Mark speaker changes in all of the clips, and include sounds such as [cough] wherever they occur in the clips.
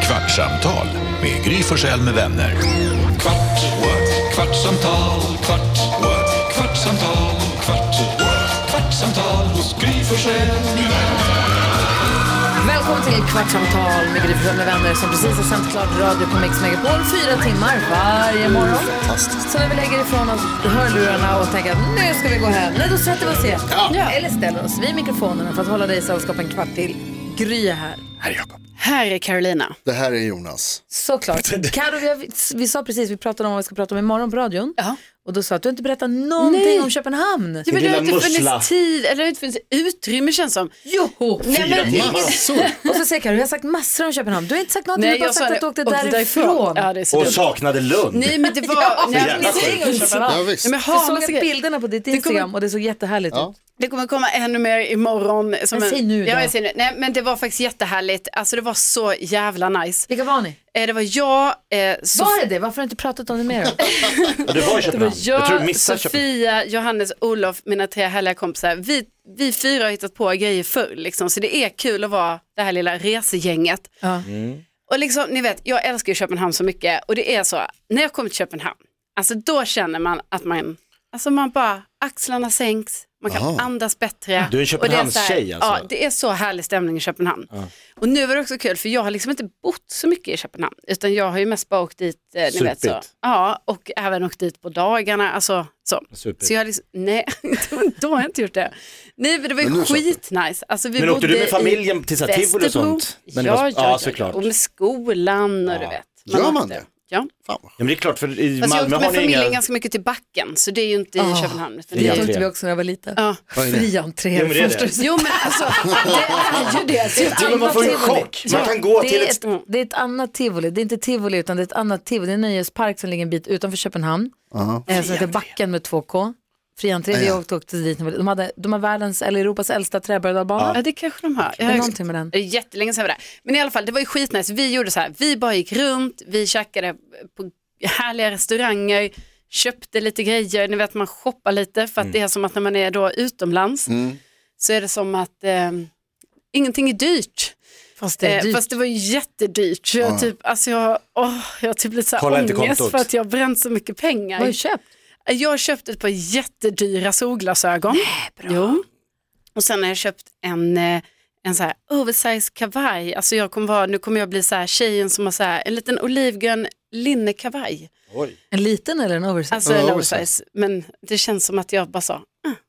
Speaker 1: Kvartsamtal med Gry Forssell med vänner. Kvart, what? kvartsamtal, kvart, what? kvartsamtal, kvart, what? kvartsamtal hos Gry Forssell med vänner.
Speaker 2: Välkommen till Kvartsamtal med Gry Forssell med vänner som precis har sänt klart radio på Mix Megapol fyra timmar varje morgon. Fantastiskt. Så när vi lägger ifrån oss hörlurarna och tänker att nu ska vi gå hem, nej då sätter vi oss igen. Ja. Eller ställer oss vid mikrofonerna för att hålla dig i sällskap en kvart till. Gry är här.
Speaker 3: Här är Jakob.
Speaker 4: Här är Carolina.
Speaker 3: Det här är Jonas. [laughs]
Speaker 2: Såklart. Karo, vi, har, vi sa precis, vi pratade om vad vi ska prata om imorgon på radion.
Speaker 4: Ja.
Speaker 2: Och då sa jag att du inte berättat någonting
Speaker 4: Nej.
Speaker 2: om Köpenhamn.
Speaker 4: Ja, men det
Speaker 5: lilla
Speaker 4: har inte
Speaker 5: mussla.
Speaker 4: funnits tid, eller det har inte funnits utrymme känns som.
Speaker 2: Jo!
Speaker 4: Nej, men,
Speaker 2: Och så säger Karo, jag har sagt massor om Köpenhamn. Du har inte sagt någonting,
Speaker 4: nej,
Speaker 2: du har bara sagt
Speaker 4: jag sa det.
Speaker 2: att du åkte därifrån.
Speaker 4: Ja, det är så
Speaker 5: Och
Speaker 4: dumt.
Speaker 5: saknade Lund.
Speaker 4: Nej, men det [laughs] var... nej,
Speaker 5: jävla
Speaker 4: men-
Speaker 5: skit.
Speaker 3: Ja,
Speaker 2: Jag
Speaker 3: visst.
Speaker 4: Nej, men ha,
Speaker 2: såg
Speaker 4: massa
Speaker 2: att
Speaker 4: grejer.
Speaker 2: bilderna på ditt Instagram och det såg jättehärligt
Speaker 3: Ja.
Speaker 2: ut.
Speaker 4: Det kommer komma ännu mer imorgon. Som
Speaker 2: Men
Speaker 4: en-
Speaker 2: säg nu då.
Speaker 4: Ja, jag säger nu. Nej, men det var faktiskt jättehärligt. Alltså det var så jävla nice.
Speaker 2: Vilka var ni?
Speaker 4: Eh, Det var jag, eh, Sof-
Speaker 2: Var det det? Varför har du inte pratat om det [laughs] mer då?
Speaker 5: Ja, du var i
Speaker 4: det var
Speaker 5: Köpenhamn. Jag, tror du
Speaker 4: jag
Speaker 5: missade Köpenhamn.
Speaker 4: Sofia, Johannes, Olof, mina tre härliga kompisar. Vi, vi fyra har hittat på grejer förr, liksom. så det är kul att vara det här lilla resegänget.
Speaker 2: Ja.
Speaker 5: Mm,
Speaker 4: Och liksom, ni vet, jag älskar ju Köpenhamn så mycket och det är så, när jag kommer till Köpenhamn, alltså då känner man att man, alltså man bara, axlarna sänks, man kan andas bättre.
Speaker 5: Du är en
Speaker 4: Och det så här-
Speaker 5: Köpenhamnstjej, alltså.
Speaker 4: Ja, det är så härlig stämning i Köpenhamn. Och nu var det också kul, för jag har liksom inte bott så mycket i Köpenhamn, utan jag har ju mest bara åkt dit, eh, ni vet så.
Speaker 5: Supit.
Speaker 4: Ja, och även åkt dit på dagarna, alltså så.
Speaker 5: Supit.
Speaker 4: Så jag har liksom, nej, [laughs] då har jag inte gjort det. Nej, men det var
Speaker 3: Men
Speaker 4: ju
Speaker 3: nu så.
Speaker 4: skitnice. Alltså, vi
Speaker 5: Men åkte
Speaker 4: bodde
Speaker 5: du med
Speaker 4: i-
Speaker 5: familjen till så här tivoli och
Speaker 4: Västerbro.
Speaker 5: sånt? Men det
Speaker 4: Ja,
Speaker 5: var-
Speaker 4: ja,
Speaker 5: ja,
Speaker 4: ja,
Speaker 5: såklart.
Speaker 4: Och med skolan och du vet.
Speaker 3: Gör man
Speaker 4: åkte.
Speaker 3: det?
Speaker 4: Ja.
Speaker 5: Ja, men det är klart, för i
Speaker 4: Fast jag
Speaker 5: Malmö
Speaker 4: åkte med
Speaker 5: har ni Ah,
Speaker 4: familjen
Speaker 5: inga...
Speaker 4: ganska mycket till backen, så det är ju inte i Köpenhamn. utan
Speaker 5: Fri
Speaker 4: det är ju-
Speaker 5: entré.
Speaker 2: åkte vi också när jag var liten.
Speaker 4: Ja.
Speaker 2: Fri entré.
Speaker 5: Jo, men det är det.
Speaker 2: Förstår du?
Speaker 4: Jo men alltså, det är ju
Speaker 5: [laughs]
Speaker 4: det. det är
Speaker 5: Till och med man får ju en chock. Man kan gå
Speaker 2: Det
Speaker 5: till
Speaker 2: är,
Speaker 5: ett...
Speaker 2: ett, det är ett annat tivoli, det är inte tivoli utan det är ett annat tivoli, det är en nöjespark som ligger en bit utanför Köpenhamn. Eh, Som heter Backen med 2K. Fri entré, vi åkte, åkte dit, när vi- de, hade, de har världens, eller Europas äldsta träbrädalbana.
Speaker 4: Ja, det kanske de har.
Speaker 2: Det är någonting med den.
Speaker 4: Det är jättelänge sedan vi var där. Men i alla fall, det var ju skitnice. Vi gjorde så här, vi bara gick runt, vi käkade på härliga restauranger, köpte lite grejer, ni vet man shoppar lite för att
Speaker 5: Mm.
Speaker 4: det är som att när man är då utomlands
Speaker 3: Mm.
Speaker 4: så är det som att eh, ingenting är dyrt.
Speaker 2: Fast det är
Speaker 4: Eh,
Speaker 2: dyrt.
Speaker 4: fast det var ju jättedyrt. Så jag, typ, alltså jag, åh, jag har typ lite så
Speaker 5: Kolla
Speaker 4: här
Speaker 5: inte
Speaker 4: ångest
Speaker 5: kontot.
Speaker 4: för att jag har bränt så mycket pengar.
Speaker 2: Vad har du köpt?
Speaker 4: Jag har köpt ett par jättedyra solglasögon. Nej, bra. Jo. Och sen har jag köpt en, eh, en så här oversized kavaj. Alltså jag kommer vara, nu kommer jag bli så här tjejen som har så här, en liten olivgrön linnekavaj.
Speaker 5: Oj.
Speaker 2: En liten eller en oversize?
Speaker 4: Alltså en
Speaker 3: Ja,
Speaker 4: oversized. Men det känns som att jag bara sa, ah,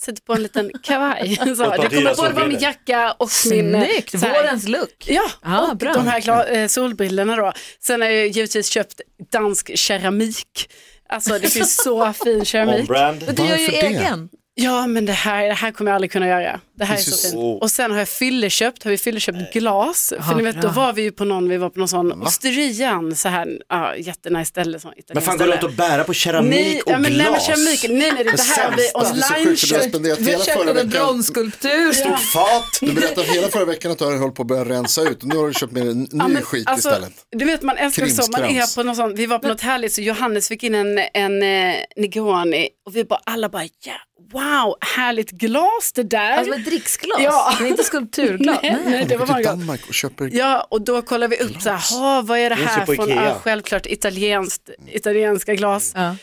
Speaker 4: sätter på en liten kavaj. [laughs] så, det
Speaker 5: par
Speaker 4: kommer både
Speaker 5: dyra
Speaker 4: vara min
Speaker 5: solbrillor.
Speaker 4: jacka och min... eh,
Speaker 2: Snyggt,
Speaker 4: så här-
Speaker 2: vårens look.
Speaker 4: Ja,
Speaker 2: Ja,
Speaker 4: och
Speaker 2: bra.
Speaker 4: de här gla- eh, solbrillorna då. Sen har jag givetvis köpt dansk keramik. Alltså det finns
Speaker 2: [laughs]
Speaker 4: så fin keramik.
Speaker 5: On brand.
Speaker 2: Du gör ju
Speaker 3: Varför det?
Speaker 2: egen.
Speaker 4: Ja men det här, det här kommer jag aldrig kunna göra. Det här är
Speaker 3: This
Speaker 4: så
Speaker 3: is-
Speaker 4: fint. Och sen har jag fylleköpt, har vi fylleköpt glas. För
Speaker 2: Ja,
Speaker 4: ni vet då
Speaker 2: bra.
Speaker 4: var vi ju på någon, vi var på någon sån osterian, så här, ja jättenice ställe. Sån
Speaker 5: Men
Speaker 4: italienskt
Speaker 5: fan, går du
Speaker 4: ställe.
Speaker 5: runt och bära på keramik
Speaker 4: Nej,
Speaker 5: och
Speaker 4: ja, men nej, men
Speaker 5: glas?
Speaker 4: keramik, nej, nej, det här har vi
Speaker 5: sämsta.
Speaker 3: Det är så sjukt för du har
Speaker 4: online
Speaker 3: spenderat hela förra veckan.
Speaker 2: bronsskulptur.
Speaker 5: Stort fat.
Speaker 3: Du berättade hela förra veckan att du hade hållit på att börja rensa ut. Nu har du köpt med en ny
Speaker 4: Ja, men
Speaker 3: skit
Speaker 4: alltså,
Speaker 3: istället.
Speaker 4: Du vet man älskar så, man är
Speaker 3: Krimskrams.
Speaker 4: på någon sån, vi var på något härligt så Johannes fick in en, en eh, Negroni och vi bara alla bara ja, wow, härligt glas det där.
Speaker 2: Alltså med dricksglas,
Speaker 4: Ja.
Speaker 2: det är inte skulpturglas.
Speaker 4: nej, nej, det var
Speaker 3: Åker
Speaker 4: bara
Speaker 3: till
Speaker 4: glas.
Speaker 3: Danmark och köper
Speaker 4: Ja, och då kollar vi upp så här, "Ha, vad är det
Speaker 5: Finns det
Speaker 4: här
Speaker 5: på
Speaker 4: från?
Speaker 5: Ikea?
Speaker 4: Ja, självklart italienskt, italienska glas.
Speaker 2: Ja.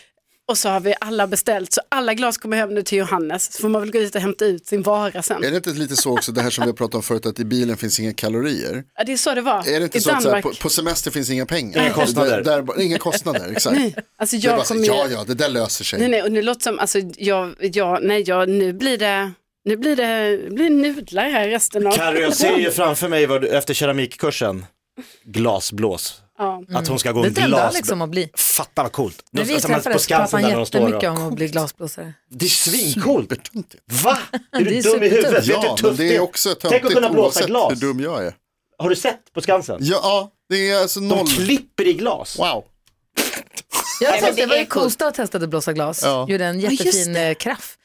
Speaker 4: Och så har vi alla beställt, så alla glas kommer hem nu till Johannes. Så får man väl gå dit och hämta ut sin vara sen.
Speaker 3: Är det inte lite så också det här som vi har pratat om förut att i bilen finns inga kalorier?
Speaker 4: Ja, det är så det var.
Speaker 3: Är det inte
Speaker 4: I
Speaker 3: så att så här,
Speaker 4: Danmark.
Speaker 3: på, på semester finns inga pengar?
Speaker 5: Inga kostnader.
Speaker 3: Där, där, inga kostnader, exakt.
Speaker 4: Alltså
Speaker 3: det är bara
Speaker 4: jag
Speaker 3: så,
Speaker 4: kommer
Speaker 3: här,
Speaker 4: ju...
Speaker 3: ja, ja, det där löser sig.
Speaker 4: Nej, nej, och nu låter som, alltså jag, jag nej, jag, nu blir det, nu blir det, det blir nudlar här resten av...
Speaker 5: Carro, jag ser ju framför mig vad du, efter keramikkursen, glasblås.
Speaker 4: Ja.
Speaker 5: Att hon ska gå
Speaker 2: Det
Speaker 5: en
Speaker 2: drömde
Speaker 5: glas...
Speaker 2: Alex liksom att bli.
Speaker 5: Fatta vad coolt.
Speaker 2: När
Speaker 5: De
Speaker 2: vi
Speaker 5: ska samlas på
Speaker 2: träffades pratade
Speaker 5: Skansen där
Speaker 2: han
Speaker 5: när de står
Speaker 2: jättemycket
Speaker 5: och...
Speaker 2: om att bli glasblåsare.
Speaker 5: Det är svincoolt.
Speaker 3: Supertöntigt.
Speaker 5: Va? Alltså, Är
Speaker 2: Det
Speaker 5: du
Speaker 2: är
Speaker 5: dum i
Speaker 2: superdumt.
Speaker 5: huvudet? Vet du
Speaker 3: Ja,
Speaker 5: hur
Speaker 3: men
Speaker 5: tufft
Speaker 3: det är också
Speaker 5: Tänk att
Speaker 3: töntigt
Speaker 5: kunna blåsa
Speaker 3: oavsett
Speaker 5: glas.
Speaker 3: hur dum jag är.
Speaker 5: Har du sett på Skansen?
Speaker 3: Ja, ja, det är alltså
Speaker 5: De
Speaker 3: noll.
Speaker 5: klipper i glas.
Speaker 3: Wow.
Speaker 2: Jag
Speaker 4: men det
Speaker 2: det var ju
Speaker 4: är coolt.
Speaker 2: Kosta och testade blåsa glas,
Speaker 3: Ja.
Speaker 2: gjorde en jättefin
Speaker 4: just det.
Speaker 2: eh, kraff.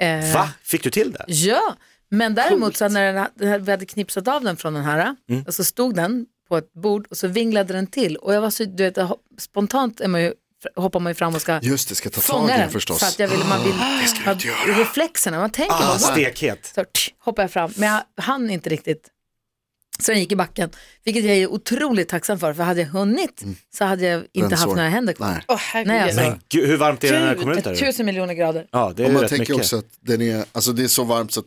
Speaker 2: Eh,
Speaker 5: Va? Fick du till det?
Speaker 2: Ja, men däremot så när den, den här, vi hade knipsat av den från den här och så stod den på ett bord och så vinglade den till och jag var så, du vet, jag hop- spontant är man ju, hoppar man ju fram och ska
Speaker 3: Just det, ska ta tag
Speaker 2: fånga
Speaker 3: i det
Speaker 2: den
Speaker 3: förstås.
Speaker 2: för att jag vill, man vill,
Speaker 3: du inte
Speaker 2: man-
Speaker 3: göra.
Speaker 2: reflexerna, man tänker
Speaker 5: Ah,
Speaker 2: bara,
Speaker 5: stekhet.
Speaker 2: så tsch, hoppar jag fram, men jag hann inte riktigt Så den gick i backen, vilket jag är otroligt tacksam för, för hade jag hunnit
Speaker 5: Mm.
Speaker 2: så hade jag inte
Speaker 3: Rensår.
Speaker 2: haft några händer kvar.
Speaker 3: Nej.
Speaker 4: Åh herregud.
Speaker 2: Nej, alltså.
Speaker 5: Men gud, hur varmt är det när det kommer ut
Speaker 2: Gud,
Speaker 5: där?
Speaker 2: Tusen miljoner grader.
Speaker 5: Ja, det är
Speaker 3: Och
Speaker 5: ju
Speaker 3: man
Speaker 5: rätt
Speaker 3: tänker
Speaker 5: mycket.
Speaker 3: också att den är, alltså det är så varmt så att,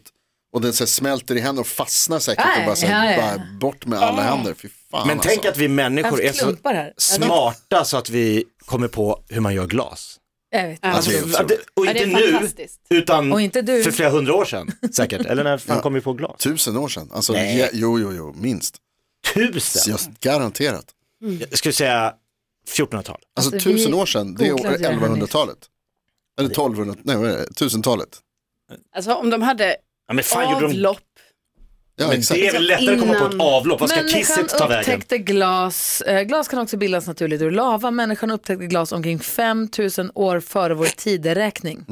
Speaker 3: och den så här smälter i händerna och fastnar säkert
Speaker 2: Nej,
Speaker 3: och bara, så här,
Speaker 2: ja, ja.
Speaker 3: bara bort med alla händer. Fy fan
Speaker 5: Men tänk
Speaker 3: alltså.
Speaker 5: att vi människor
Speaker 2: Jag
Speaker 5: är
Speaker 2: har
Speaker 5: så
Speaker 2: haft klumpar här.
Speaker 5: smarta så att vi kommer på hur man gör glas.
Speaker 2: Jag vet.
Speaker 4: Ja.
Speaker 3: Alltså, det är
Speaker 5: Att det-
Speaker 3: otroligt.
Speaker 5: Och
Speaker 4: Ja, det är
Speaker 5: inte nu,
Speaker 4: fantastiskt.
Speaker 5: utan
Speaker 2: Och inte du.
Speaker 5: för flera hundra år sedan säkert. Eller när fan kom vi på glas?
Speaker 3: Tusen år sedan, alltså,
Speaker 5: Nej.
Speaker 3: ja, jo, jo, jo, minst. Så
Speaker 5: Tusen!
Speaker 3: jag, garanterat.
Speaker 5: Jag skulle säga 1400-tal.
Speaker 3: Alltså,
Speaker 2: Alltså, vi
Speaker 3: tusen år sedan, det är
Speaker 2: googlade
Speaker 3: år-
Speaker 2: det här nyss.
Speaker 3: 1100-talet. Eller 1200, nej vad är det, 1000-talet.
Speaker 4: Alltså om de hade
Speaker 5: Ja, men fan gjorde de...
Speaker 4: avlopp.
Speaker 3: Ja,
Speaker 5: Men
Speaker 3: exakt.
Speaker 5: det är väl lättare att komma på ett
Speaker 4: Innan-
Speaker 5: avlopp? Vad ska kisset ta vägen?
Speaker 2: upptäckte glas, eh, glas kan också bildas naturligt ur lava, människan upptäckte glas omkring 5000 år före vår tideräkning.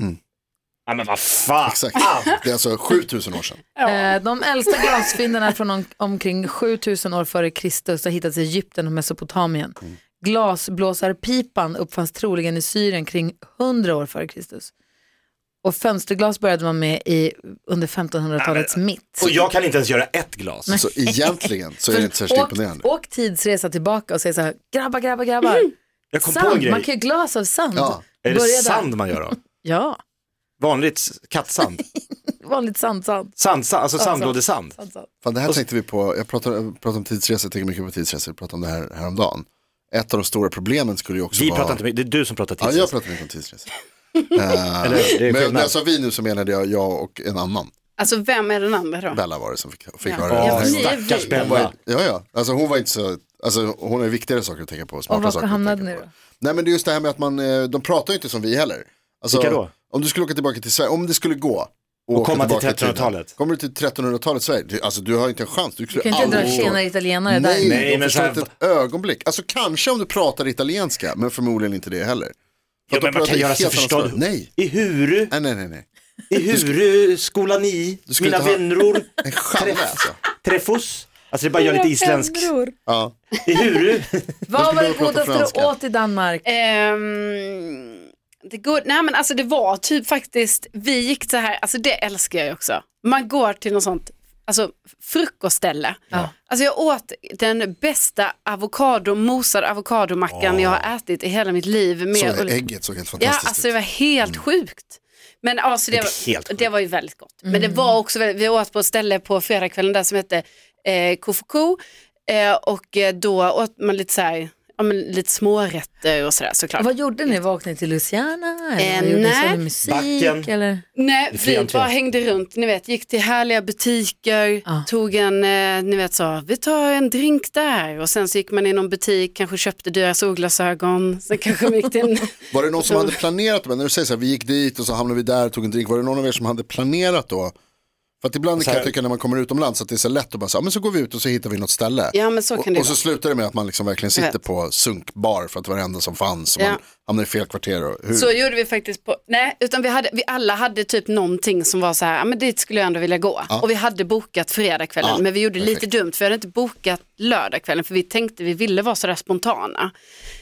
Speaker 5: Ja, men vad fan!
Speaker 3: Exakt.
Speaker 5: Ah.
Speaker 3: Det är alltså 7000 år sedan.
Speaker 2: Eh, de äldsta glasfynden är från om, omkring 7000 år före Kristus och har hittats i Egypten och Mesopotamien.
Speaker 5: Mm.
Speaker 2: Glasblåsarpipan uppfanns troligen i Syrien kring 100 år före Kristus. Och fönsterglas började man med i, under 1500-talets mitt.
Speaker 5: Och jag kan inte ens göra ett glas.
Speaker 3: Så egentligen så är det inte särskilt
Speaker 2: åk,
Speaker 3: imponerande.
Speaker 2: åk tidsresa tillbaka och säg så här, grabbar, grabbar, grabbar.
Speaker 5: Mm. Jag kom på en
Speaker 2: Sand,
Speaker 5: grej.
Speaker 2: man kan ju glas av sand.
Speaker 3: Ja.
Speaker 5: Är det
Speaker 2: Börja där.
Speaker 5: sand man gör då?
Speaker 2: Ja,
Speaker 5: Vanligt s- kattsand?
Speaker 2: vanligt sand, sand.
Speaker 5: Sand, sand alltså
Speaker 2: Ja, sand.
Speaker 5: sandlådesand?
Speaker 2: sand, sand.
Speaker 3: Fan, det här tänkte vi på, jag pratar, jag pratar om tidsresor, jag tänker mycket på tidsresor, jag pratade om det här häromdagen. Ett av de stora problemen skulle ju också
Speaker 5: Vi
Speaker 3: vara...
Speaker 5: pratar inte mycket, det är du som pratar
Speaker 3: Ja,
Speaker 5: tidsresor.
Speaker 3: jag pratar mycket om tidsresor. Eh,
Speaker 5: Eller hur? Det är
Speaker 3: men när
Speaker 5: skillnad.
Speaker 3: jag sa vi nu så menade jag jag och en annan.
Speaker 4: Alltså vem är den andra då?
Speaker 3: Bella var det som fick, fick
Speaker 4: Ja.
Speaker 3: höra det.
Speaker 5: Ja,
Speaker 3: den här
Speaker 4: ni är
Speaker 3: gången.
Speaker 5: stackars
Speaker 4: vi.
Speaker 3: Hon var,
Speaker 5: Bella.
Speaker 3: ja, ja. Alltså, hon var inte så, alltså, hon har ju viktigare saker att tänka på. Smarta
Speaker 2: Och varför
Speaker 3: saker att
Speaker 2: hamnade
Speaker 3: tänka
Speaker 2: ni
Speaker 3: på.
Speaker 2: då?
Speaker 3: Nej men det är just det här med att man, eh, de pratar ju inte som vi heller. Alltså,
Speaker 5: Vilka då?
Speaker 3: Om du skulle åka tillbaka till Sverige, om det skulle gå. Och, åka
Speaker 5: komma till
Speaker 3: tillbaka tiden.
Speaker 5: 1300-talet.
Speaker 3: Kommer du till 1300-talet Sverige, du, alltså du har inte en chans. Du,
Speaker 2: Du kan inte dra tjenare italienare där.
Speaker 3: Nej,
Speaker 5: Nej,
Speaker 3: de
Speaker 5: men
Speaker 3: förstår
Speaker 5: så
Speaker 3: inte
Speaker 5: här-
Speaker 3: ett ögonblick. Alltså kanske om du pratar italienska, men förmodligen inte det heller. För
Speaker 5: Ja,
Speaker 3: att de
Speaker 5: men man
Speaker 3: pratar
Speaker 5: kan
Speaker 3: ju
Speaker 5: göra sig
Speaker 3: helt annat
Speaker 5: förstådd.
Speaker 3: språk. Nej,
Speaker 5: I Huru,
Speaker 3: nej, nej, nej. nej.
Speaker 5: i Huru, skola 9,
Speaker 3: Du skulle
Speaker 5: mina
Speaker 3: inte ha-
Speaker 5: vänner,
Speaker 3: En [laughs] chans alltså.
Speaker 5: Trefus. Alltså det är bara att göra lite isländskt.
Speaker 3: Ja.
Speaker 5: I Huru.
Speaker 2: Vad var
Speaker 3: börja
Speaker 2: det
Speaker 3: prata
Speaker 2: godaste du
Speaker 3: franska.
Speaker 2: åt i Danmark?
Speaker 4: Ehm, det, går, nej men alltså det var typ faktiskt, vi gick så här, alltså det älskar jag ju också. Man går till något sånt, alltså frukostställe. Alltså jag åt den bästa avokado, mosad avokadomackan jag har ätit i hela mitt liv. Med
Speaker 3: Så
Speaker 4: ull-
Speaker 3: ägget såg helt
Speaker 4: Ja,
Speaker 3: fantastiskt
Speaker 4: alltså det
Speaker 3: ut.
Speaker 4: var helt sjukt. Men alltså det,
Speaker 5: Det är
Speaker 4: var,
Speaker 5: Mm. helt sjukt. Mm.
Speaker 4: det var ju väldigt gott. Men det var också, väldigt, vi åt på ett ställe på fredagskvällen där som hette eh, Kofuku eh, och eh, då åt man lite så här, ja, men lite smårätter och sådär såklart.
Speaker 2: Vad gjorde ni? Vaknade ni till Luciana?
Speaker 4: Eh,
Speaker 2: Eller gjorde ni
Speaker 4: nej.
Speaker 2: sån musik?
Speaker 5: Backen.
Speaker 2: Eller?
Speaker 4: Nej,
Speaker 5: Det är fri
Speaker 4: vi
Speaker 5: entré.
Speaker 4: bara hängde runt, ni vet, gick till härliga butiker, tog en, eh, ni vet så, vi tar en drink där och sen så gick man i någon butik, kanske köpte dyra solglasögon, sen kanske man gick till [laughs] en...
Speaker 3: Var det någon som hade planerat, men när du säger så här, vi gick dit och så hamnade vi där och tog en drink, var det någon av er som hade planerat då? För att ibland
Speaker 5: Så
Speaker 3: kan
Speaker 5: här-
Speaker 3: jag tycka när man kommer utomlands att det är så lätt att bara säga, men så går vi ut och så hittar vi något ställe.
Speaker 4: Ja, men så kan
Speaker 3: och,
Speaker 4: det
Speaker 3: och så
Speaker 4: vara.
Speaker 3: slutar det med att man liksom verkligen
Speaker 4: Jag
Speaker 3: sitter
Speaker 4: vet.
Speaker 3: på sunkbar för att det var det enda som fanns och man
Speaker 4: Ja.
Speaker 3: hamnar i fel kvarter. Och hur?
Speaker 4: Så gjorde vi faktiskt på, nej, utan vi, hade, vi alla hade typ någonting som var så här, "Ja, men dit skulle jag ändå vilja gå. Och vi hade bokat fredagskvällen,
Speaker 3: Ja,
Speaker 4: men vi gjorde
Speaker 3: perfekt.
Speaker 4: lite dumt, för vi hade inte bokat lördagskvällen, för vi tänkte vi ville vara så där spontana.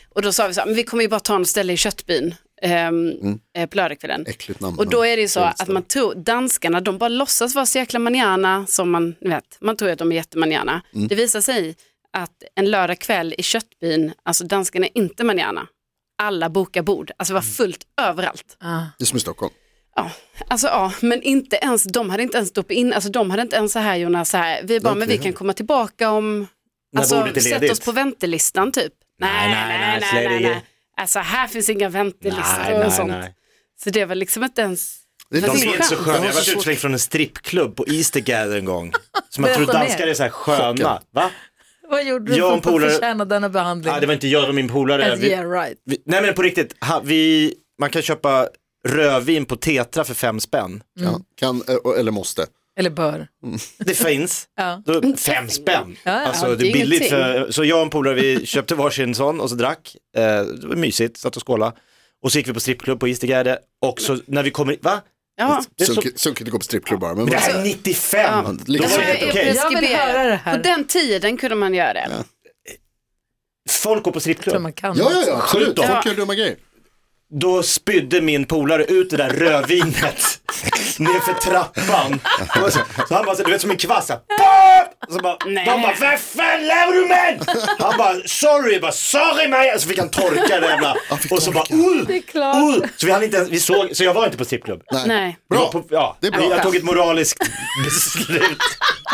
Speaker 4: Och då sa vi så här, men vi kommer ju bara ta något ställe i Köttbyn ehm,
Speaker 3: Mm.
Speaker 4: eh, på lördagskvällen.
Speaker 3: Äckligt namn.
Speaker 4: Och då är det ju så
Speaker 3: Trevligt
Speaker 4: att man tror, danskarna de bara låtsas vara så jäkla manana som man, ni vet, man tror ju att de är jättemanana.
Speaker 5: Mm.
Speaker 4: Det visar sig att en lördagkväll i Köttbyn, alltså danskarna är inte manana. Alla bokar bord, alltså det var
Speaker 5: Mm.
Speaker 4: fullt överallt.
Speaker 2: Ah.
Speaker 3: Det är som i Stockholm.
Speaker 4: Ja, alltså ja, men inte ens, de hade inte ens stoppat in, alltså de hade inte ens så här Jonas, så här, vi bara,
Speaker 3: Okej.
Speaker 4: men vi kan komma tillbaka om,
Speaker 5: När
Speaker 4: alltså
Speaker 5: bordet är
Speaker 4: sätt
Speaker 5: ledigt.
Speaker 4: oss på väntelistan typ.
Speaker 5: Nej, nej, nej, släng det i.
Speaker 4: Alltså här finns inga väntelistor och sånt. Så det var liksom inte ens,
Speaker 3: Det
Speaker 4: De
Speaker 5: De
Speaker 4: är
Speaker 5: är inte så
Speaker 4: skönt.
Speaker 5: sköna.
Speaker 3: Det
Speaker 5: Jag
Speaker 3: var så
Speaker 5: var utslängd från en strippklubb på Eastergather en gång. Så man
Speaker 2: Berätta
Speaker 5: tror
Speaker 2: mer.
Speaker 5: danskar är så här sköna.
Speaker 3: Chocken.
Speaker 5: Va?
Speaker 2: Vad gjorde du
Speaker 5: Jag och
Speaker 2: för
Speaker 5: en
Speaker 2: att polare...
Speaker 5: polare-
Speaker 2: förtjäna denna behandling?
Speaker 5: Ja, det var inte jag, det var min polare.
Speaker 2: As
Speaker 5: Vi,
Speaker 2: yeah right.
Speaker 5: vi, nej men på riktigt, ha, vi, man kan köpa rödvin på Tetra för fem spänn.
Speaker 3: Ja, kan, eh, eller måste.
Speaker 2: Eller bör. [laughs]
Speaker 5: Det finns.
Speaker 2: Ja.
Speaker 5: Då, fem spänn.
Speaker 2: ja,
Speaker 5: alltså
Speaker 4: det
Speaker 5: det
Speaker 4: är
Speaker 5: är billigt.
Speaker 4: ingenting.
Speaker 5: För, så jag och en polare vi köpte varsin sån och så drack. Eh, det var mysigt, satt och skåla. Och så gick vi på strippklubb på Eastergärde och så när vi kommer, va?
Speaker 4: ja.
Speaker 5: Det är så,
Speaker 3: Sunkigt sunkigt att gå på strippklubbar. Men
Speaker 5: det här är 95!
Speaker 4: Ja. liksom.
Speaker 5: Då var
Speaker 3: Alltså,
Speaker 5: det helt
Speaker 4: är
Speaker 5: okej.
Speaker 2: Jag vill höra det här.
Speaker 4: På den tiden kunde man göra det.
Speaker 5: Folk går på
Speaker 2: tror
Speaker 5: strippklubb.
Speaker 2: man kan.
Speaker 3: Ja, ja, ja,
Speaker 5: Skjut
Speaker 3: absolut.
Speaker 5: dem.
Speaker 3: Folk gör dumma grejer.
Speaker 5: Då spydde min polare ut det
Speaker 3: [laughs]
Speaker 5: där rödvinet nerför trappan. Och Så, så han bara, så, du vet som en kvast så, här, pop! Och så bara,
Speaker 4: Nej.
Speaker 5: de bara, vad fan lever du med? Han bara, sorry, bara, sorry mig. Och Så fick han torka det jävla.
Speaker 3: fick
Speaker 5: Och så bara,
Speaker 3: torka.
Speaker 5: uh,
Speaker 2: Det är klart.
Speaker 5: uh. Så vi hann inte ens, vi såg, så jag var inte på strippklubb.
Speaker 4: Nej.
Speaker 5: Jag var
Speaker 3: Bra,
Speaker 5: på- Ja,
Speaker 3: Det är bra.
Speaker 5: Jag tog ett moraliskt [laughs] beslut.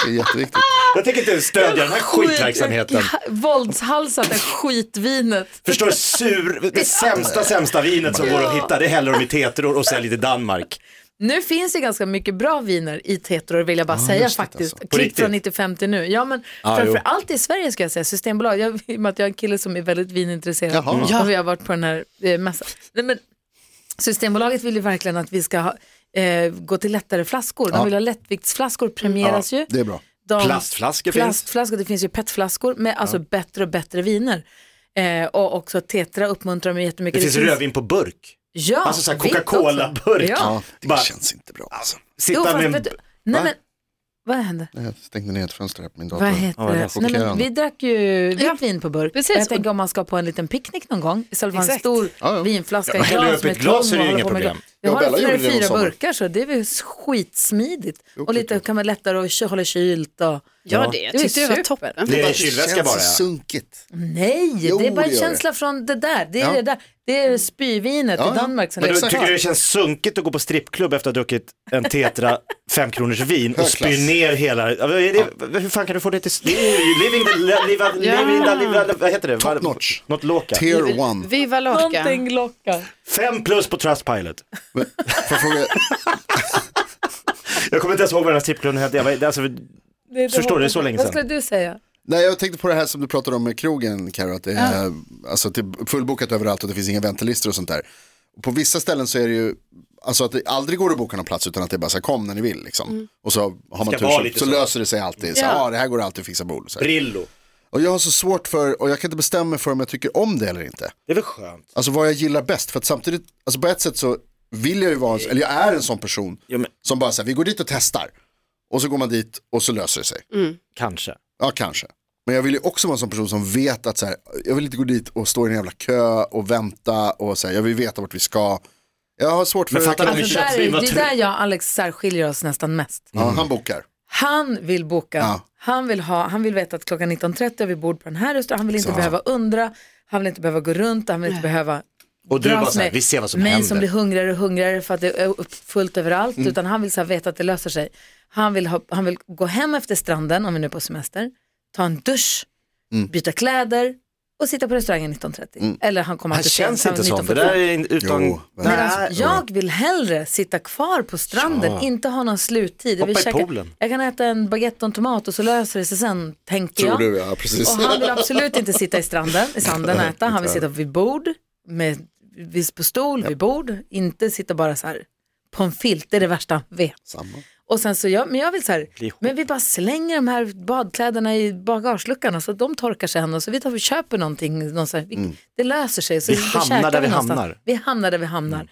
Speaker 3: det är jätteviktigt.
Speaker 5: Jag tänker inte stödja den här skitverksamheten.
Speaker 2: Skit- [laughs] Våldshalsat är skitvinet.
Speaker 5: Förstår du, sur, det sämsta, sämsta vinet som går att hitta, det häller de i tetror och säljer till Danmark.
Speaker 2: Nu finns det ganska mycket bra viner i tetror vill jag bara säga faktiskt.
Speaker 5: alltså. På
Speaker 2: Klipp
Speaker 5: riktigt?
Speaker 2: från 95 till nu. Ja men
Speaker 5: Ja,
Speaker 2: framför
Speaker 5: jo.
Speaker 2: allt i Sverige ska jag säga, Systembolag. Jag, I och med att jag är en kille som är väldigt vinintresserad.
Speaker 3: Jaha.
Speaker 2: Och vi har varit på den här eh, mässan. Nej, men, Systembolaget vill ju verkligen att vi ska ha, eh, gå till lättare flaskor. De vill ha lättviktsflaskor, premieras ju.
Speaker 3: Det är bra.
Speaker 2: De,
Speaker 5: Plastflaskor finns.
Speaker 2: plastflaskor, Det finns ju petflaskor med alltså bättre och bättre viner. Eh, och också Tetra uppmuntrar mig jättemycket.
Speaker 5: Det finns rödvin på burk.
Speaker 2: Ja,
Speaker 5: Alltså så här
Speaker 2: vitt också.
Speaker 5: Coca-Cola-burk.
Speaker 2: Ja.
Speaker 3: Ja, det
Speaker 5: Bara-
Speaker 3: känns inte bra. Alltså.
Speaker 2: Jo,
Speaker 5: Sitta
Speaker 2: fast,
Speaker 5: med en...
Speaker 2: vet du, nej,
Speaker 5: Va?
Speaker 2: men, vad hände?
Speaker 3: Jag stängde ner ett fönster här på min dator.
Speaker 2: Vad heter
Speaker 5: Ja, det är
Speaker 2: det? Nej, men,
Speaker 3: chockerande.
Speaker 2: vi drack ju vitt
Speaker 4: Ja,
Speaker 2: vin på burk.
Speaker 4: precis.
Speaker 2: Jag tänker om man ska på en liten picknick någon gång istället för en
Speaker 4: Exakt.
Speaker 2: stor
Speaker 3: Ja, ja.
Speaker 2: vinflaska.
Speaker 5: Ja, häller
Speaker 2: glas
Speaker 5: upp
Speaker 2: med
Speaker 5: ett glas
Speaker 2: tom
Speaker 5: är det
Speaker 2: och håller
Speaker 5: ju inga
Speaker 2: på med
Speaker 5: problem.
Speaker 2: glas. Jag
Speaker 3: Ja,
Speaker 2: har
Speaker 3: Bella
Speaker 2: fyra,
Speaker 3: gjorde det någon
Speaker 2: fyra
Speaker 3: sommar.
Speaker 2: burkar så det är väl skitsmidigt.
Speaker 3: Jo,
Speaker 2: och lite
Speaker 3: klart.
Speaker 2: kan man lättare och kö- hålla kylt. Och...
Speaker 4: Ja, det, jag
Speaker 2: Det är
Speaker 4: tyckte det var
Speaker 2: super.
Speaker 4: toppen.
Speaker 5: Det är en
Speaker 3: Fast
Speaker 5: kylväska
Speaker 3: känns
Speaker 5: bara. ja.
Speaker 3: sunkigt.
Speaker 2: Nej,
Speaker 3: Jo,
Speaker 2: det är bara
Speaker 3: det
Speaker 2: en
Speaker 3: gör
Speaker 2: känsla från det där. Det är,
Speaker 3: Ja.
Speaker 2: det där. Det är spyvinet
Speaker 3: Ja,
Speaker 2: i
Speaker 3: ja.
Speaker 2: Danmark som
Speaker 5: Mm. Men du,
Speaker 2: lever
Speaker 5: tycker
Speaker 2: kvar.
Speaker 5: du det känns sunkigt att gå på strippklubb efter att ha druckit en Tetra 5 kronors vin och
Speaker 3: Högklass.
Speaker 5: spyr ner hela... Ja, vad är det, hur fan kan du få det till... Det är ju Living the... li- Liva, living the liva, vad heter det? Top
Speaker 3: notch.
Speaker 5: Något låka.
Speaker 3: Tier one.
Speaker 4: Viva Loka.
Speaker 2: Någonting lockar.
Speaker 5: Fem plus på Trustpilot.
Speaker 3: Men, får jag fråga,
Speaker 5: Jag kommer inte ens ihåg vad den här strippklubben hette. Jag var- Alltså,
Speaker 2: Det är
Speaker 5: Förstår du, det är så länge
Speaker 2: Vad
Speaker 5: sedan.
Speaker 2: skulle du säga?
Speaker 3: nej, jag tänkte på det här som du pratade om med krogen, Karo, att det är, alltså, att det är fullbokat överallt och det finns inga väntelistor och sånt där. På vissa ställen så är det ju, alltså att det aldrig går att boka någon plats utan att det är bara så här, kom när ni vill liksom.
Speaker 2: Mm.
Speaker 3: Och så har man
Speaker 5: Ska
Speaker 3: tur
Speaker 5: vara
Speaker 3: så,
Speaker 5: lite
Speaker 3: så
Speaker 5: så.
Speaker 3: löser det sig alltid. Så,
Speaker 4: Ja.
Speaker 3: ja. det här går alltid att fixa bord. Så här.
Speaker 5: Brillo.
Speaker 3: Och jag har så svårt för, och jag kan inte bestämma mig för om jag tycker om det eller inte.
Speaker 5: Det är väl skönt.
Speaker 3: Alltså vad jag gillar bäst, för att samtidigt, alltså på ett sätt så vill jag ju vara, en- eller jag är en sån person
Speaker 5: Ja, men-
Speaker 3: som bara säger vi går dit och testar. Och så går man dit och så löser det sig.
Speaker 5: Kanske.
Speaker 3: Ja, kanske. Men jag vill ju också vara en sån person som vet att så här, jag vill inte gå dit och stå i en jävla kö och vänta och så här, jag vill veta vart vi ska. Jag har svårt för
Speaker 5: Men fattar du-
Speaker 2: Alltså, där är,
Speaker 5: köpsvin var
Speaker 2: det är
Speaker 5: trygg.
Speaker 2: där jag och Alex särskiljer oss nästan mest.
Speaker 3: Ja, han bokar.
Speaker 2: Han vill boka,
Speaker 3: Ja.
Speaker 2: han, vill ha, han vill veta att klockan 19.30 är vi bord på den här restaurangen, han vill inte behöva undra, han vill inte behöva gå runt, han vill inte behöva
Speaker 5: Och du
Speaker 2: dras
Speaker 5: bara så här,
Speaker 2: med
Speaker 5: vi ser vad som
Speaker 2: mig
Speaker 5: händer. Mm.
Speaker 2: som blir hungrigare och hungrigare för att det är upp- fullt överallt, utan han vill så här veta att det löser sig. Han vill, ha, han vill gå hem efter stranden, om vi nu är på semester, ta en dusch,
Speaker 5: Mm.
Speaker 2: byta kläder och sitta på restaurangen 19.30. Eller han kommer
Speaker 5: Han
Speaker 2: alltid
Speaker 5: Mm. känns
Speaker 2: sent,
Speaker 5: inte
Speaker 2: han
Speaker 5: så.
Speaker 2: vill
Speaker 5: Det där
Speaker 2: 19.45.
Speaker 5: är in- utan...
Speaker 3: Jo, men-
Speaker 5: Nej.
Speaker 2: Men alltså, jag vill hellre sitta kvar på stranden, inte ha någon sluttid. Jag, vill
Speaker 5: Hoppa i
Speaker 2: käka,
Speaker 5: poolen.
Speaker 2: jag kan äta en baguette och en tomat och så löser det sig sen, tänker jag.
Speaker 3: ja precis.
Speaker 2: Och han vill absolut inte sitta i stranden, i sanden och äta. Han vill sitta vid bord, med, vid- på stol, vid bord. Inte sitta bara så här på en filt, det är det värsta han vet.
Speaker 3: [laughs] Samma.
Speaker 2: Och sen så jag, men jag vill så här,
Speaker 5: Bli ihop.
Speaker 2: men vi bara slänger de här badkläderna i bagageluckan så att de torkar sen och så vi tar och köper någonting, någon så här, vi, det löser sig. Så
Speaker 5: Mm. Vi
Speaker 2: käkar
Speaker 5: hamnar där vi
Speaker 2: någonstans.
Speaker 5: hamnar. Mm.
Speaker 2: Vi hamnar där vi hamnar.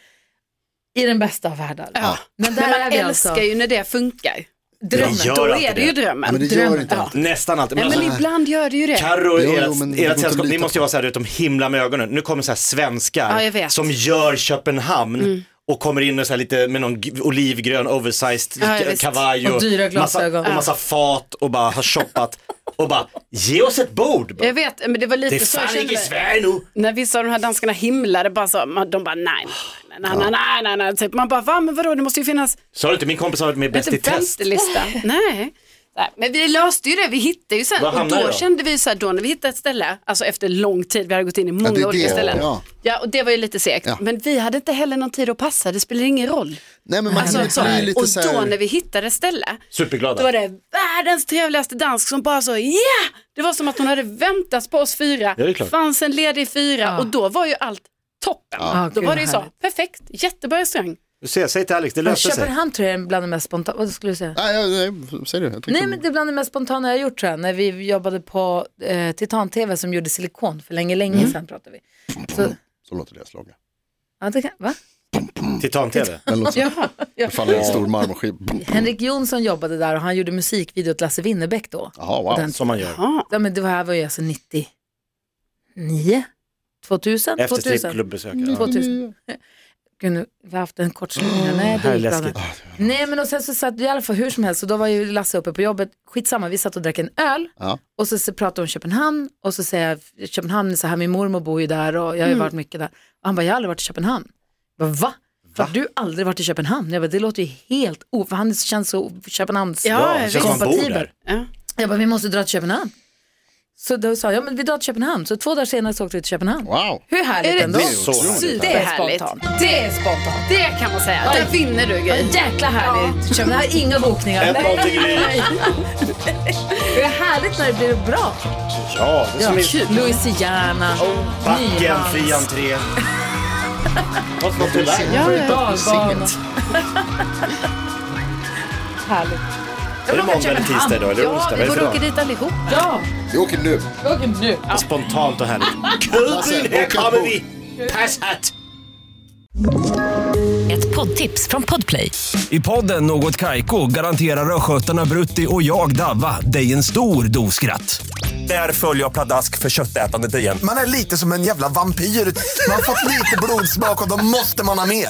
Speaker 2: I den bästa av världar.
Speaker 4: Ja.
Speaker 2: Men där
Speaker 4: Men man
Speaker 2: är vi
Speaker 4: älskar
Speaker 2: alltså.
Speaker 4: ju när det funkar.
Speaker 2: Drömmen.
Speaker 5: Jag gör
Speaker 4: Då
Speaker 5: alltid
Speaker 4: är det ju
Speaker 5: det.
Speaker 4: drömmen.
Speaker 3: Men det gör
Speaker 4: drömmen.
Speaker 3: inte
Speaker 4: Ja.
Speaker 3: alltid.
Speaker 5: Nästan alltid. Men
Speaker 4: Nej,
Speaker 5: alltså,
Speaker 4: men ibland gör det ju det.
Speaker 5: Carro och
Speaker 3: Jo, jo,
Speaker 5: ert,
Speaker 3: men det går
Speaker 5: ert
Speaker 3: inte
Speaker 5: sällskap,
Speaker 3: att
Speaker 5: ni
Speaker 3: lita
Speaker 5: måste ju
Speaker 3: på.
Speaker 5: vara så här, du vet, de himla med ögonen. Nu kommer så
Speaker 4: Ja,
Speaker 5: här svenskar
Speaker 4: jag vet. Mm.
Speaker 5: som gör Köpenhamn och kommer in och så här lite med någon g- olivgrön oversized
Speaker 4: Ja,
Speaker 5: k-
Speaker 4: visst.
Speaker 5: kavaj
Speaker 2: Och dyra glasögon.
Speaker 5: massa, och massa fat och bara har shoppat och bara ge oss ett bord.
Speaker 4: Jag vet, men det var lite
Speaker 5: Det är
Speaker 4: så jag
Speaker 5: fan
Speaker 4: kände.
Speaker 5: inte i Sverige nu.
Speaker 4: När vissa av de här danskarna himlade, bara så, man- de bara nej, nej, nej, nej, nej, nej, nej. Typ. Man bara, va, men vadå, det måste ju finnas
Speaker 5: Sa du inte min kompis har varit med Bäst i
Speaker 4: lite
Speaker 3: [laughs]
Speaker 5: test?
Speaker 4: väntelista. nej. Så här, Men vi löste ju det, vi hittade ju sen.
Speaker 5: Var
Speaker 4: Och
Speaker 5: hamnade
Speaker 4: då
Speaker 5: jag?
Speaker 4: kände vi så här, då när vi hittade ett ställe, alltså efter lång tid, vi hade gått in i
Speaker 3: Ja,
Speaker 4: många
Speaker 3: det är
Speaker 4: olika
Speaker 3: det.
Speaker 4: ställen.
Speaker 3: Ja.
Speaker 4: Ja, och det var ju lite segt.
Speaker 3: Ja.
Speaker 4: Men vi hade inte heller någon tid att passa, det spelar ingen roll.
Speaker 3: Nej men man
Speaker 4: Alltså,
Speaker 3: blir-
Speaker 4: så,
Speaker 3: blir lite
Speaker 4: och
Speaker 3: så här,
Speaker 4: då när vi hittade ett ställe,
Speaker 5: Superglada.
Speaker 4: då var det världens trevligaste dansk som bara så ja! Det var som att hon hade väntat på oss fyra.
Speaker 5: Ja, det är klart.
Speaker 4: fanns en ledig fyra och då var ju allt toppen.
Speaker 2: Ja,
Speaker 4: Då
Speaker 2: gud,
Speaker 4: var det ju så,
Speaker 2: härligt.
Speaker 4: perfekt, jättebra restaurang.
Speaker 5: Du ser, säg till Alex, det
Speaker 2: Men
Speaker 5: löser sig.
Speaker 2: Köpenhamn tror jag är bland de mest spontana, vad skulle du säga?
Speaker 3: Nej, nej, nej, säg du. Jag tänkte-
Speaker 2: Nej men det är bland det mest spontana jag har gjort tror jag. När vi jobbade på eh, Titan-TV som gjorde silikon för länge, länge
Speaker 5: Mm.
Speaker 2: sedan pratar vi. Så,
Speaker 3: Så låter deras logga.
Speaker 2: ja, det kan, va?
Speaker 5: Titan-TV.
Speaker 3: Den låter så. Det faller en stor marmorskiva.
Speaker 2: Henrik Jonsson jobbade där och han gjorde musikvideo åt Lasse Winnerbäck då.
Speaker 3: Jaha,
Speaker 2: Och
Speaker 3: wow.
Speaker 2: den-
Speaker 5: Som man gör.
Speaker 2: Ja, men det här var ju alltså 99. 2000?
Speaker 5: Efter
Speaker 2: 2000?
Speaker 5: strippklubbesöket. Ja.
Speaker 4: Mm.
Speaker 2: 2000. Mm, Gud, nu, vi har haft en kort slutning. Nej, det
Speaker 5: här är
Speaker 2: gick bra.
Speaker 4: Ah,
Speaker 5: läskigt.
Speaker 2: Nej, men och sen så satt vi i alla fall hur som helst, och då var ju Lasse uppe på jobbet, skitsamma, vi satt och drack en öl,
Speaker 3: Ja.
Speaker 2: och så, så pratade vi om Köpenhamn, och så säger jag, Köpenhamn är så här, min mormor bor ju där, och jag
Speaker 4: Mm.
Speaker 2: har ju varit mycket där. Och han bara, jag har aldrig varit i Köpenhamn. Jag bara, va? Har du aldrig varit i Köpenhamn? Jag bara, det låter ju helt o... För han känns så Köpenhamns...
Speaker 4: Ja,
Speaker 5: det känns som man bor
Speaker 2: kompatibel.
Speaker 5: där.
Speaker 4: Ja.
Speaker 2: Jag bara, vi måste dra till Köpenhamn. Så då sa jag, ja men vi drar till Köpenhamn. Så två dagar senare så åkte vi till Köpenhamn.
Speaker 3: Wow.
Speaker 2: Hur härligt
Speaker 4: Är det
Speaker 2: ändå?
Speaker 3: Det är så
Speaker 5: Så
Speaker 3: härligt.
Speaker 4: Det är härligt.
Speaker 2: Det är spontant.
Speaker 4: Det kan man säga. Där vinner du
Speaker 2: Ja,
Speaker 4: Gry.
Speaker 2: jäkla härligt. Köpenhamn har inga bokningar.
Speaker 5: Ett noll till Gry.
Speaker 2: Det är härligt när det blir bra.
Speaker 5: Ja, det är som i
Speaker 2: Louisiana,
Speaker 5: backen,
Speaker 2: Nyhamn,
Speaker 5: fri entré. Måste man fylla i.
Speaker 4: Ja, ja.
Speaker 2: dalbana. härligt.
Speaker 5: Är det måndag eller tisdag idag? Eller
Speaker 4: Ja,
Speaker 5: onsdag? Vad är
Speaker 4: vi
Speaker 5: det för
Speaker 4: borde
Speaker 5: dag?
Speaker 4: åka dit allihop.
Speaker 2: Ja,
Speaker 3: Vi åker nu.
Speaker 2: vi åker nu.
Speaker 5: Spontant och härligt. Kul, här
Speaker 3: boka
Speaker 5: kommer
Speaker 3: bord.
Speaker 5: vi! Passat!
Speaker 6: Ett poddtips från Podplay.
Speaker 7: I podden Något Kaiko garanterar östgötarna Brutti och jag, Davva, dig en stor dos skratt. Där följer jag pladask för köttätandet igen.
Speaker 8: Man är lite som en jävla vampyr. Man har fått lite blodsmak och då måste man ha mer.